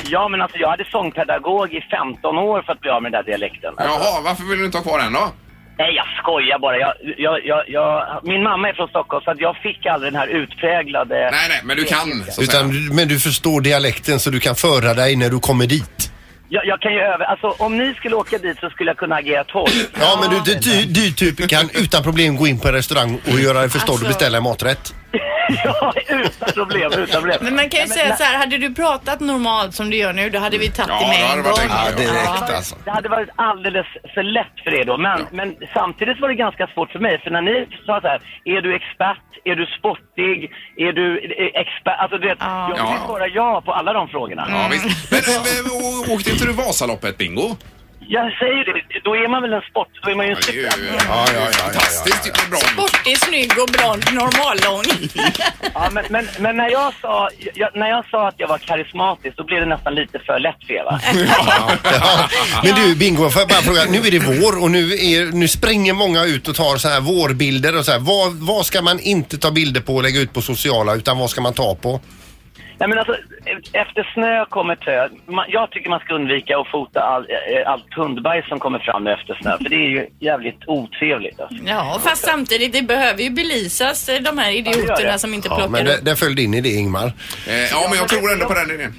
[SPEAKER 13] Ja, men alltså jag hade sångpedagog i 15 år för att bli av med den där dialekten.
[SPEAKER 3] Jaha, varför vill du inte ha kvar den då?
[SPEAKER 13] Nej, jag skojar bara. Jag, jag, jag, jag, min mamma är från Stockholm så att jag fick aldrig den här utpräglade...
[SPEAKER 3] Nej, nej, men du kan.
[SPEAKER 5] Utan, du- men du förstår dialekten så du kan föra dig när du kommer dit.
[SPEAKER 13] Jag, jag kan ju över... Alltså om ni skulle åka dit så skulle jag kunna agera tolk.
[SPEAKER 5] Ja, men du, du, du, du typ kan utan problem gå in på en restaurang och göra dig förstådd och
[SPEAKER 13] Alltså-
[SPEAKER 5] beställa en maträtt.
[SPEAKER 13] Ja, utan problem, utan problem.
[SPEAKER 4] Men man kan ju säga så här, hade du pratat normalt som du gör nu, då hade vi tagit dig med en gång.
[SPEAKER 5] alltså.
[SPEAKER 13] Det hade varit alldeles för lätt för er då. Men, men samtidigt var det ganska svårt för mig. För när ni sa så här, är du expert? Är du sportig? Är du eh, expert? Alltså du vet, jag vill
[SPEAKER 3] Ja.
[SPEAKER 13] svara ja på alla de frågorna.
[SPEAKER 3] Ja, visst. Men, men å- åkte inte du Vasaloppet, Bingo?
[SPEAKER 13] Jag säger det, då är man väl en sport, då är man ju en
[SPEAKER 3] Ja, ja, ja, Fantastiskt det är bra.
[SPEAKER 4] Sportig, snygg och blond, normallång.
[SPEAKER 13] Ja, men, men, men när, jag sa, jag, när jag sa att jag var karismatisk, då blev det nästan lite för lätt för er, va?
[SPEAKER 5] Men du Bingo, får jag bara fråga. Nu är det vår och nu, är, nu springer många ut och tar så här vårbilder och så här. Vad, vad ska man inte ta bilder på och lägga ut på sociala utan vad ska man ta på?
[SPEAKER 13] Nej, men alltså, e- efter snö kommer tö. Man, jag tycker man ska undvika att fota all- eh, allt hundbajs som kommer fram efter snö, för det är ju jävligt otrevligt. Alltså.
[SPEAKER 4] Ja, fast samtidigt, det behöver ju belysas, eh, de här idioterna som inte
[SPEAKER 5] Ja, men
[SPEAKER 4] plockar
[SPEAKER 5] där,
[SPEAKER 4] upp.
[SPEAKER 5] där föll din idé Ingmar.
[SPEAKER 3] Eh, Ja, men jag tror ändå på den idén.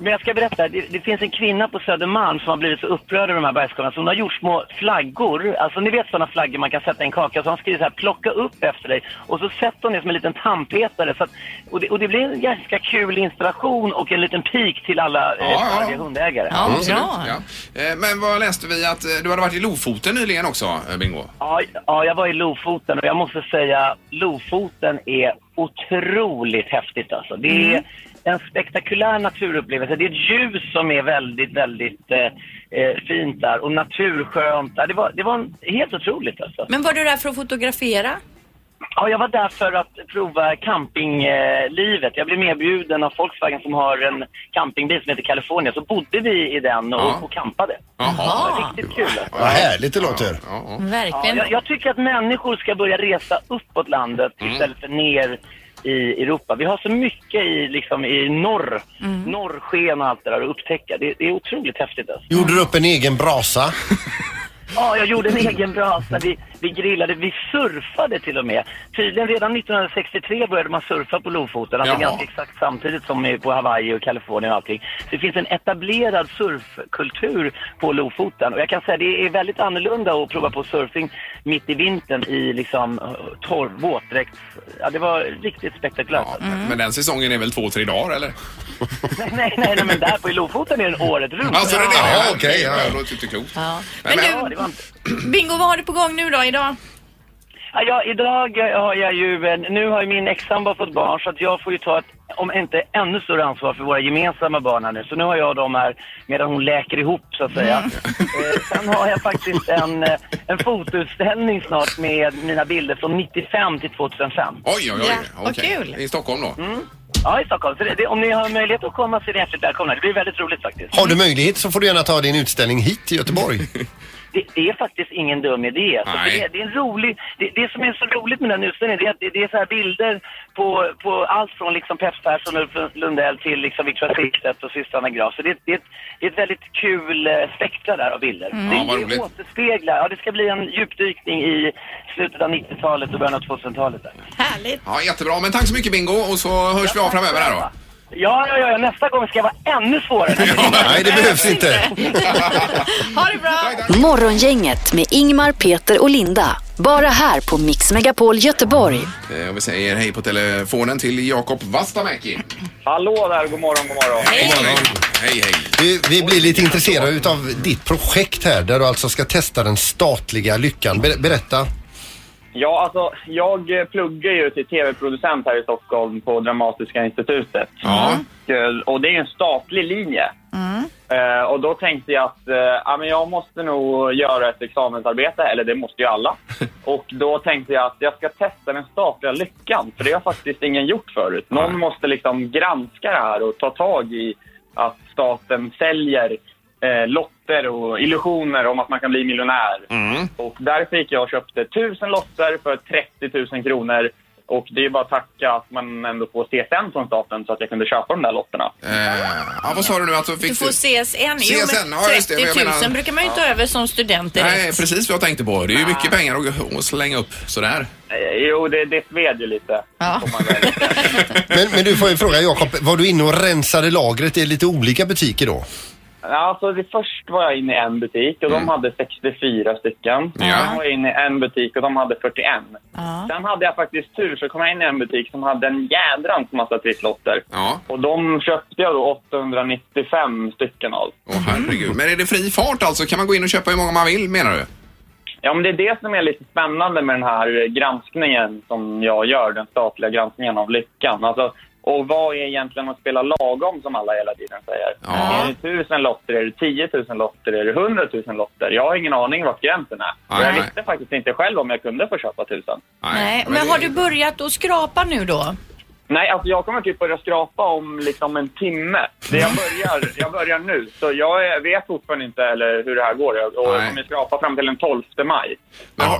[SPEAKER 13] Men jag ska berätta, det, det finns en kvinna på Södermalm som har blivit så upprörd över de här bergskorvarna så hon har gjort små flaggor, alltså ni vet sådana flaggor man kan sätta i en kaka, så hon skriver så här plocka upp efter dig och så sätter hon det som en liten tandpetare så att, och, det, och det blir en ganska kul installation och en liten pik till alla eh,
[SPEAKER 3] Ja, ja.
[SPEAKER 13] arga hundägare.
[SPEAKER 3] Absolut, Mm. ja. Eh, Men vad läste vi att eh, du hade varit i Lofoten nyligen också, eh, Bingo?
[SPEAKER 13] Ja, ja, jag var i Lofoten och jag måste säga Lofoten är otroligt häftigt alltså. Det är en spektakulär naturupplevelse. Det är ett ljus som är väldigt, väldigt eh, eh, fint där och naturskönt. Ja, det, var, det var en- helt otroligt alltså.
[SPEAKER 4] Men var du där för att fotografera?
[SPEAKER 13] Ja, jag var där för att prova campinglivet. Jag blev medbjuden av Volkswagen som har en campingbil som heter California. Så bodde vi i den och, och campade. Det var riktigt kul. Alltså.
[SPEAKER 5] Vad härligt det låter.
[SPEAKER 4] Verkligen.
[SPEAKER 13] Ja, jag, jag tycker att människor ska börja resa uppåt landet
[SPEAKER 3] Mm.
[SPEAKER 13] istället för ner i Europa. Vi har så mycket i, liksom, i norr, norrsken och allt det där att upptäcka. Det, det är otroligt häftigt. Alltså.
[SPEAKER 5] Gjorde du upp en egen brasa?
[SPEAKER 13] Ja, jag gjorde en egen brasa. Vi, vi grillade, vi surfade till och med. Tydligen redan 1963 började man surfa på Lofoten, alltså
[SPEAKER 11] Jaha.
[SPEAKER 13] ganska exakt samtidigt som i- på Hawaii och Kalifornien och allting. Så det finns en etablerad surfkultur på Lofoten och jag kan säga det är väldigt annorlunda att prova på surfing mitt i vintern i liksom eh, torr våtdräkt. Ja, det var riktigt spektakulärt.
[SPEAKER 4] Mm.
[SPEAKER 3] Men den säsongen är väl två, tre dagar eller?
[SPEAKER 13] Nej, nej, nej, nej, men där på i Lofoten är den året runt.
[SPEAKER 3] Alltså det är det?
[SPEAKER 13] Ja.
[SPEAKER 3] Ja, okej. Ja, det låter inte klokt.
[SPEAKER 4] Ja.
[SPEAKER 3] Nej,
[SPEAKER 4] Men
[SPEAKER 3] men-
[SPEAKER 4] du, Bingo, vad har du på gång nu då idag?
[SPEAKER 13] Ja, jag, idag har jag ju, eh, nu har ju min ex-sambo fått barn så att jag får ju ta ett om inte ännu större ansvar för våra gemensamma barn här nu. Så nu har jag dem här medan hon läker ihop så att säga. Eh, sen har jag faktiskt en, eh, en fotoutställning snart med mina bilder från 95 till 2005.
[SPEAKER 3] Oj, oj, oj. Okej. I Stockholm då?
[SPEAKER 13] Mm. Ja, i Stockholm. Så det, det, om ni har möjlighet att komma så är ni hjärtligt välkomna. Det blir väldigt roligt faktiskt.
[SPEAKER 5] Har du möjlighet så får du gärna ta din utställning hit till Göteborg.
[SPEAKER 13] Det, det är faktiskt ingen dum idé. Alltså,
[SPEAKER 5] Nej.
[SPEAKER 13] för det, det är en rolig... Det, det som är så roligt med den utställningen det är att det, det är så här bilder på, på allt från liksom Peps Persson och Ulf Lundell till liksom Victoria Silvstedt och systrarna Graf. Så det, det, det är ett väldigt kul eh, spektra där av bilder.
[SPEAKER 3] Mm.
[SPEAKER 13] Det,
[SPEAKER 3] Ja, vad
[SPEAKER 13] det
[SPEAKER 3] roligt.
[SPEAKER 13] återspeglar... Ja, det ska bli en djupdykning i slutet av 90-talet och början av 2000-talet. där.
[SPEAKER 4] Härligt.
[SPEAKER 3] Ja, jättebra. Men tack så mycket Bingo och så hörs vi av framöver här då.
[SPEAKER 13] Ja, ja, ja, ja, nästa gång ska jag vara ännu svårare.
[SPEAKER 5] Nej, det behövs inte.
[SPEAKER 4] Ha det bra!
[SPEAKER 1] Morgongänget med Ingmar, Peter och Linda. Bara här på Mix Megapol Göteborg.
[SPEAKER 3] Eh, och vi säger hej på telefonen till Jakob Vastamäki.
[SPEAKER 14] Hallå där, god morgon, god morgon.
[SPEAKER 3] Hej! Hej, hej.
[SPEAKER 5] Vi, vi blir lite intresserade utav ditt projekt här där du alltså ska testa den statliga lyckan. Ber, berätta.
[SPEAKER 14] Ja, alltså, jag eh, pluggar ju till tv-producent här i Stockholm på Dramatiska institutet. Eh, Och det är ju en statlig linje. Eh, och då tänkte jag att eh, ja, men jag måste nog göra ett examensarbete, eller det måste ju alla. Och då tänkte jag att jag ska testa den statliga lyckan, för det har faktiskt ingen gjort förut. Någon måste liksom granska det här och ta tag i att staten säljer eh, lotter och illusioner om att man kan bli miljonär. Och därför gick jag och köpte 1000 lotter för 30 000 kronor. Och det är bara att tacka att man ändå får CSN från staten så att jag kunde köpa de där lotterna.
[SPEAKER 3] Eh, Ja, vad sa du nu? Alltså, fick
[SPEAKER 4] Du får CSN. Jo,
[SPEAKER 3] CSN,
[SPEAKER 4] men
[SPEAKER 3] ja, just det,
[SPEAKER 4] 30
[SPEAKER 3] jag
[SPEAKER 4] 000
[SPEAKER 3] menar-
[SPEAKER 4] brukar man ju ta över som student direkt.
[SPEAKER 3] Nej, precis vad jag tänkte på. Det är ju mycket pengar att- att slänga upp sådär.
[SPEAKER 14] Jo, det, det sved ju lite.
[SPEAKER 4] Ja.
[SPEAKER 5] Men, men du får ju fråga Jakob, var du inne och rensade lagret i lite olika butiker då?
[SPEAKER 14] Alltså, det, först var jag inne i en butik och
[SPEAKER 5] Mm.
[SPEAKER 14] de hade 64 stycken. Sen var jag inne i en butik och de hade 41. Sen hade jag faktiskt tur så kom jag in i en butik som hade en jädrans massa trisslotter. Och de köpte jag då 895 stycken av.
[SPEAKER 3] Åh herregud. Men är det fri fart alltså? Kan man gå in och köpa hur många man vill menar du?
[SPEAKER 14] Ja, men det är det som är lite spännande med den här granskningen som jag gör, den statliga granskningen av lyckan. Alltså, och vad är egentligen att spela lagom som alla hela tiden säger? Är det tusen lotter, är det 10 000 lotter, är det 100 000 lotter? Jag har ingen aning vart gränsen är. Och jag
[SPEAKER 3] Nej.
[SPEAKER 14] visste faktiskt inte själv om jag kunde få köpa tusen.
[SPEAKER 4] Nej, men har du börjat att skrapa nu då?
[SPEAKER 14] Nej, alltså jag kommer typ börja skrapa om liksom en timme. Det jag, börjar, jag börjar nu, så jag är- vet fortfarande inte eller hur det här går. Jag, och jag kommer skrapa fram till den 12 maj.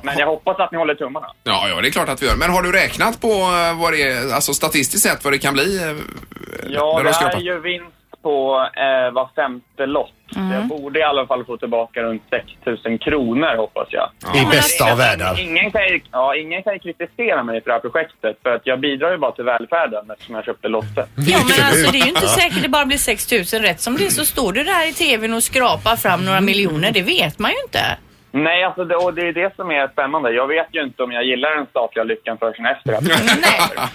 [SPEAKER 14] Men jag hoppas att ni håller tummarna.
[SPEAKER 3] Ja, ja, det är klart att vi gör. Men har du räknat på eh, vad det är, alltså statistiskt sett vad det kan bli? eh,
[SPEAKER 14] Ja,
[SPEAKER 3] när
[SPEAKER 14] det
[SPEAKER 3] de
[SPEAKER 14] är
[SPEAKER 3] skrapar?
[SPEAKER 14] ju vinst på eh, var femte lott.
[SPEAKER 3] Mm.
[SPEAKER 14] Jag borde i alla fall få tillbaka runt 6 000 kronor, hoppas jag.
[SPEAKER 5] I Ja. alltså, bästa av världar.
[SPEAKER 14] Ingen kan, ju, ja, ingen kan ju kritisera mig för det här projektet, för att jag bidrar ju bara till välfärden eftersom jag köpte lotter.
[SPEAKER 5] Mm.
[SPEAKER 4] Ja, men alltså det är ju inte säkert det bara blir 6 000 rätt som det är så står du där i tvn och skrapar fram några miljoner. Det vet man ju inte.
[SPEAKER 14] Nej, alltså det, och det är det som är spännande. Jag vet ju inte om jag gillar den statliga lyckan förrän efter.
[SPEAKER 5] Mm.
[SPEAKER 14] att-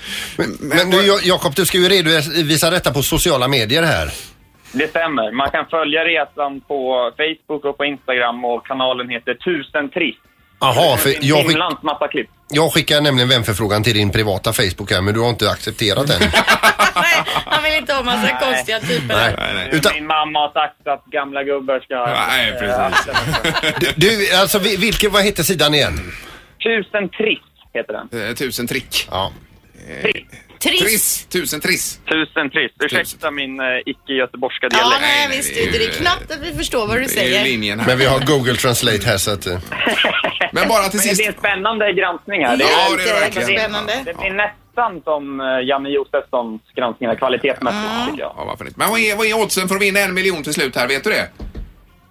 [SPEAKER 5] Men du Ja- Jakob, du ska ju redovisa detta på sociala medier här.
[SPEAKER 14] Det stämmer. Man kan följa resan på Facebook och på Instagram och kanalen heter Tusen Triss.
[SPEAKER 5] Jaha, för
[SPEAKER 14] En
[SPEAKER 5] jag, skick,
[SPEAKER 14] himlans massa klipp.
[SPEAKER 5] jag skickar nämligen vänförfrågan till din privata Facebook här men du har inte accepterat den.
[SPEAKER 4] Han vill inte ha massa konstiga typer.
[SPEAKER 5] Nej. Utan,
[SPEAKER 14] Min mamma har sagt att gamla gubbar ska... Nej, precis.
[SPEAKER 5] du, du, alltså vi- vilken, vad heter sidan igen?
[SPEAKER 14] Tusen trick heter den.
[SPEAKER 3] Eh, Tusen trick.
[SPEAKER 5] Ja.
[SPEAKER 4] Triss.
[SPEAKER 3] Tusen triss.
[SPEAKER 14] Tusen triss. Ursäkta min eh, icke-göteborgska dialekt.
[SPEAKER 4] Ja, nej, visst inte. Det är knappt att vi förstår vad du säger.
[SPEAKER 5] Men vi har Google Translate här så att... eh.
[SPEAKER 3] Men bara till
[SPEAKER 14] sist. Det är en spännande granskning här.
[SPEAKER 5] Ja, det är det verkligen.
[SPEAKER 14] spännande. Det blir nästan som eh, Janne Josefssons granskningar kvalitetsmässigt, tycker jag.
[SPEAKER 3] Ja, varför inte? Men vad är, vad är oddsen för att vinna en miljon till slut här? Vet du det?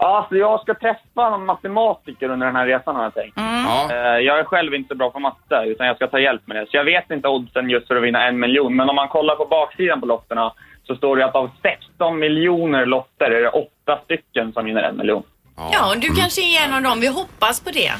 [SPEAKER 14] Alltså, jag ska träffa en matematiker under den här resan har jag tänkt.
[SPEAKER 3] Mm.
[SPEAKER 14] Eh, Jag är själv inte bra på matte, utan jag ska ta hjälp med det. Så jag vet inte oddsen just för att vinna en miljon. Men om man kollar på baksidan på lotterna så står det att av 16 miljoner lotter är det åtta stycken som vinner en miljon.
[SPEAKER 4] Ja, du
[SPEAKER 5] mm.
[SPEAKER 4] kanske är en av dem. Vi hoppas på det.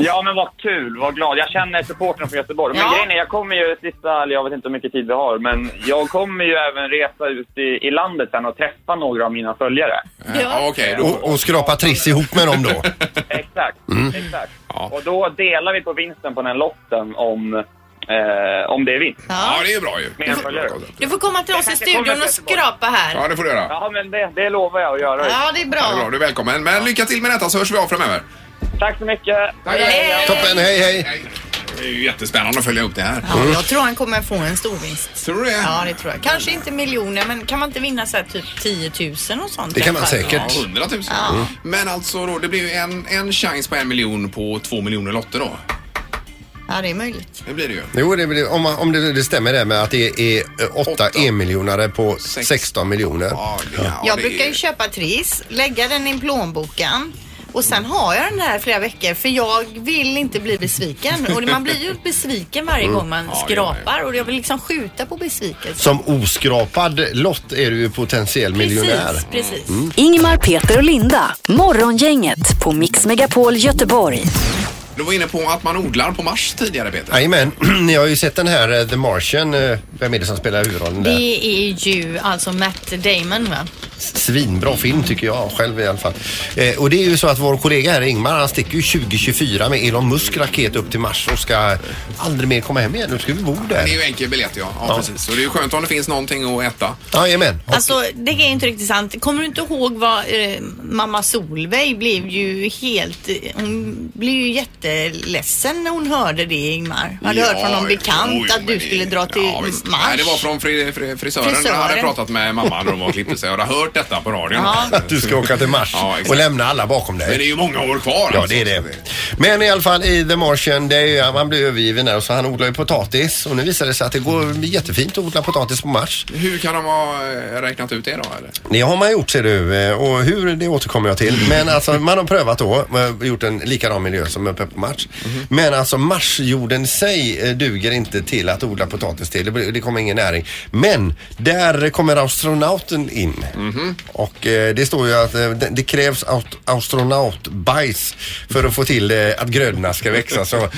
[SPEAKER 14] Ja, men vad kul, vad glad. Jag känner supporten från Göteborg. Men
[SPEAKER 4] Ja.
[SPEAKER 14] grejen är, jag kommer ju sista, eller jag vet inte hur mycket tid vi har, men jag kommer ju även resa ut i, i landet sen och träffa några av mina följare.
[SPEAKER 3] Ja,
[SPEAKER 5] och, och skrapa triss ihop med dem då.
[SPEAKER 14] Exakt,
[SPEAKER 5] Mm.
[SPEAKER 14] exakt. Och då delar vi på vinsten på den lotten om
[SPEAKER 11] eh, om det är vitt.
[SPEAKER 4] Ja.
[SPEAKER 3] det är ju bra ju.
[SPEAKER 11] Men, eller hur?
[SPEAKER 4] Du får komma till oss i studion och skrapa här.
[SPEAKER 3] Ja, det får du göra.
[SPEAKER 11] Ja, men det, det lovar jag att göra.
[SPEAKER 4] Ja, det är bra.
[SPEAKER 3] Ja, det är bra. Du är välkommen. Men lycka till med detta så hörs vi av framöver.
[SPEAKER 11] Tack så mycket.
[SPEAKER 4] Hej.
[SPEAKER 5] Toppen, hej hej!
[SPEAKER 3] Det är ju jättespännande att följa upp det här.
[SPEAKER 4] Ja, jag tror han kommer få en stor vinst.
[SPEAKER 3] Tror du det?
[SPEAKER 4] Ja, det tror jag. Kanske inte miljoner, men kan man inte vinna så här typ 10 000 och sånt?
[SPEAKER 5] Det kan man
[SPEAKER 4] i alla fall?
[SPEAKER 5] säkert.
[SPEAKER 3] Ja, 100 000.
[SPEAKER 4] Ja. Mm.
[SPEAKER 3] Men alltså då, det blir ju en, en chans på en miljon på två miljoner lotter då.
[SPEAKER 4] Ja, det är möjligt.
[SPEAKER 3] Det blir det ju.
[SPEAKER 5] Jo, det, blir- om, man- om det, det stämmer det med att det är eh, åtta enmiljonare på 16 miljoner.
[SPEAKER 4] jag brukar ju köpa Triss, lägga den i plånboken och sen har jag den här flera veckor för jag vill inte bli besviken. Och man blir ju besviken varje
[SPEAKER 5] Mm.
[SPEAKER 4] gång man
[SPEAKER 5] Ja, det gör man ju.
[SPEAKER 4] skrapar och jag vill liksom skjuta på besvikelsen.
[SPEAKER 5] Som oskrapad lott är du ju potentiell miljonär. Mm.
[SPEAKER 4] precis.
[SPEAKER 1] Ingmar, Peter och Linda. Morgongänget på Mix Megapol Göteborg.
[SPEAKER 3] Du var inne på att man odlar på Mars tidigare Peter.
[SPEAKER 5] Jajamän, ni har ju sett den här eh, The Martian. eh, Vem är det som spelar huvudrollen där?
[SPEAKER 4] Det är ju alltså Matt Damon va?
[SPEAKER 5] Svinbra film tycker jag själv i alla fall. Eh, och det är ju så att vår kollega här Ingmar han sticker ju 2024 med Elon Musk raket upp till Mars och ska aldrig mer komma hem igen. Nu ska vi bo
[SPEAKER 3] Det är
[SPEAKER 5] där.
[SPEAKER 3] ju enkel biljett ja. ja, precis. Och det är ju skönt om det finns någonting att äta.
[SPEAKER 5] Jajamän.
[SPEAKER 4] Alltså det är inte riktigt sant. Kommer du inte ihåg vad eh, mamma Solveig blev ju helt, eh, hon blev ju jätteledsen när hon hörde det Ingmar. Har du
[SPEAKER 3] Ja,
[SPEAKER 4] hört från någon
[SPEAKER 3] jo,
[SPEAKER 4] bekant
[SPEAKER 3] jo,
[SPEAKER 4] att du skulle dra till Mars?
[SPEAKER 3] Nej, det var från fri, fri, frisören.
[SPEAKER 4] Frisören.
[SPEAKER 3] Jag hade pratat med mamma när de var och klippte sig. Jag hade hört detta på radion.
[SPEAKER 4] Ja.
[SPEAKER 5] Att du ska åka till Mars
[SPEAKER 3] Ja, exakt.
[SPEAKER 5] och lämna alla bakom dig.
[SPEAKER 3] Men det är ju många år kvar.
[SPEAKER 5] Ja,
[SPEAKER 3] alltså.
[SPEAKER 5] det är det. Men i alla fall i The Martian, det är ju, man blir övergiven där och så han odlar ju potatis och nu visar det sig att det går jättefint att odla potatis på Mars.
[SPEAKER 3] Hur kan de ha eh, räknat ut det då? Eller?
[SPEAKER 5] Det har man gjort ser du eh, och hur det återkommer jag till.
[SPEAKER 3] Mm.
[SPEAKER 5] Men alltså man har prövat då, man har gjort en likadan miljö som uppe på Mars.
[SPEAKER 3] Mhm.
[SPEAKER 5] Men alltså Marsjorden i sig eh, duger inte till att odla potatis till. Det, blir- det kommer ingen näring. Men där kommer astronauten in.
[SPEAKER 3] Mhm.
[SPEAKER 5] Och eh, det står ju att eh, det, det krävs aut- astronautbajs för att få till eh, att grödorna ska växa. Så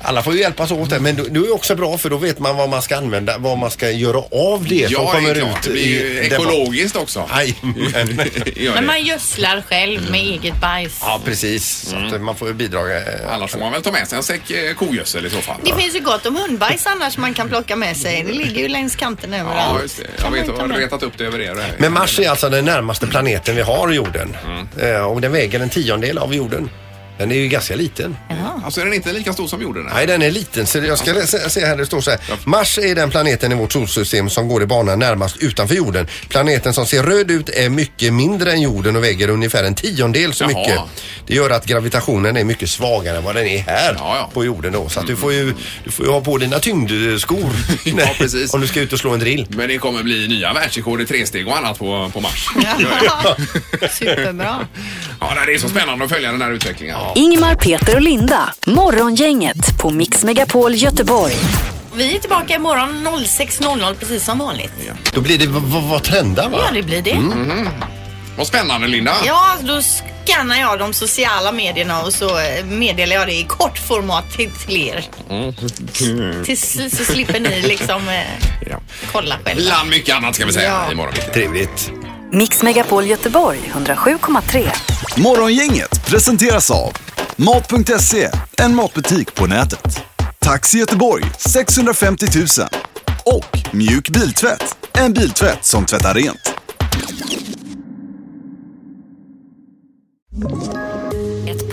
[SPEAKER 5] alla får ju hjälpas åt där. Men det det är ju också bra för då vet man vad man ska använda, vad man ska göra av det som
[SPEAKER 3] Ja, det
[SPEAKER 5] kommer
[SPEAKER 3] är klart.
[SPEAKER 5] ut.
[SPEAKER 3] Det blir ju
[SPEAKER 5] i- där bak.
[SPEAKER 3] ekologiskt också.
[SPEAKER 5] Jajamän.
[SPEAKER 4] Men man gödslar själv
[SPEAKER 3] Mm.
[SPEAKER 4] med eget bajs.
[SPEAKER 5] Ja, precis. Så att man får ju bidra. eh,
[SPEAKER 3] Annars får man väl ta med sig en säck eh, kogödsel i så fall.
[SPEAKER 4] Det finns ju gott om hundbajs annars man kan plocka med sig. Det ligger ju längs kanten
[SPEAKER 3] Ja,
[SPEAKER 4] överallt.
[SPEAKER 3] just det. Jag vet, jag har retat upp det över er. här.
[SPEAKER 5] Men Mars är alltså den närmaste planeten vi har jorden. Eh, Och den väger en tiondel av jorden. Den är ju ganska liten.
[SPEAKER 3] Alltså är den inte lika stor som jorden?
[SPEAKER 5] Nej, den är liten. Så jag ska läsa, se här, det står så här. Mars är den planeten i vårt solsystem som går i banan närmast utanför jorden. Planeten som ser röd ut är mycket mindre än jorden och väger ungefär en tiondel så
[SPEAKER 3] Jaha.
[SPEAKER 5] mycket. Det gör att gravitationen är mycket svagare än vad den är här på jorden då. Så att du, får ju, du får ju ha på dina tyngdskor
[SPEAKER 3] Mm. Ja, precis.
[SPEAKER 5] om du ska ut och slå en drill.
[SPEAKER 3] Men det kommer bli nya världsrekord i tresteg och annat på, på Mars.
[SPEAKER 4] Superbra.
[SPEAKER 3] Ja, nej, det är så spännande att följa den här utvecklingen.
[SPEAKER 1] Ingmar, Peter och Linda. Morgongänget på Mix Megapol Göteborg.
[SPEAKER 4] Vi är tillbaka imorgon 06.00 precis som vanligt.
[SPEAKER 5] Då blir det v- v- vad trendar va?
[SPEAKER 4] Ja, det blir det.
[SPEAKER 3] Vad spännande Linda.
[SPEAKER 4] Ja, då skannar jag de sociala medierna och så eh, meddelar jag det i kort format till, till er. Tills så slipper ni liksom eh, kolla själva.
[SPEAKER 3] Bland mycket annat ska vi säga
[SPEAKER 4] Ja.
[SPEAKER 3] imorgon.
[SPEAKER 5] Trevligt.
[SPEAKER 1] Mix Megapol Göteborg 107,3.
[SPEAKER 2] Morgongänget presenteras av Mat.se, en matbutik på nätet. Taxi Göteborg 650 000 och Mjuk Biltvätt, en biltvätt som tvättar rent.
[SPEAKER 15] Ett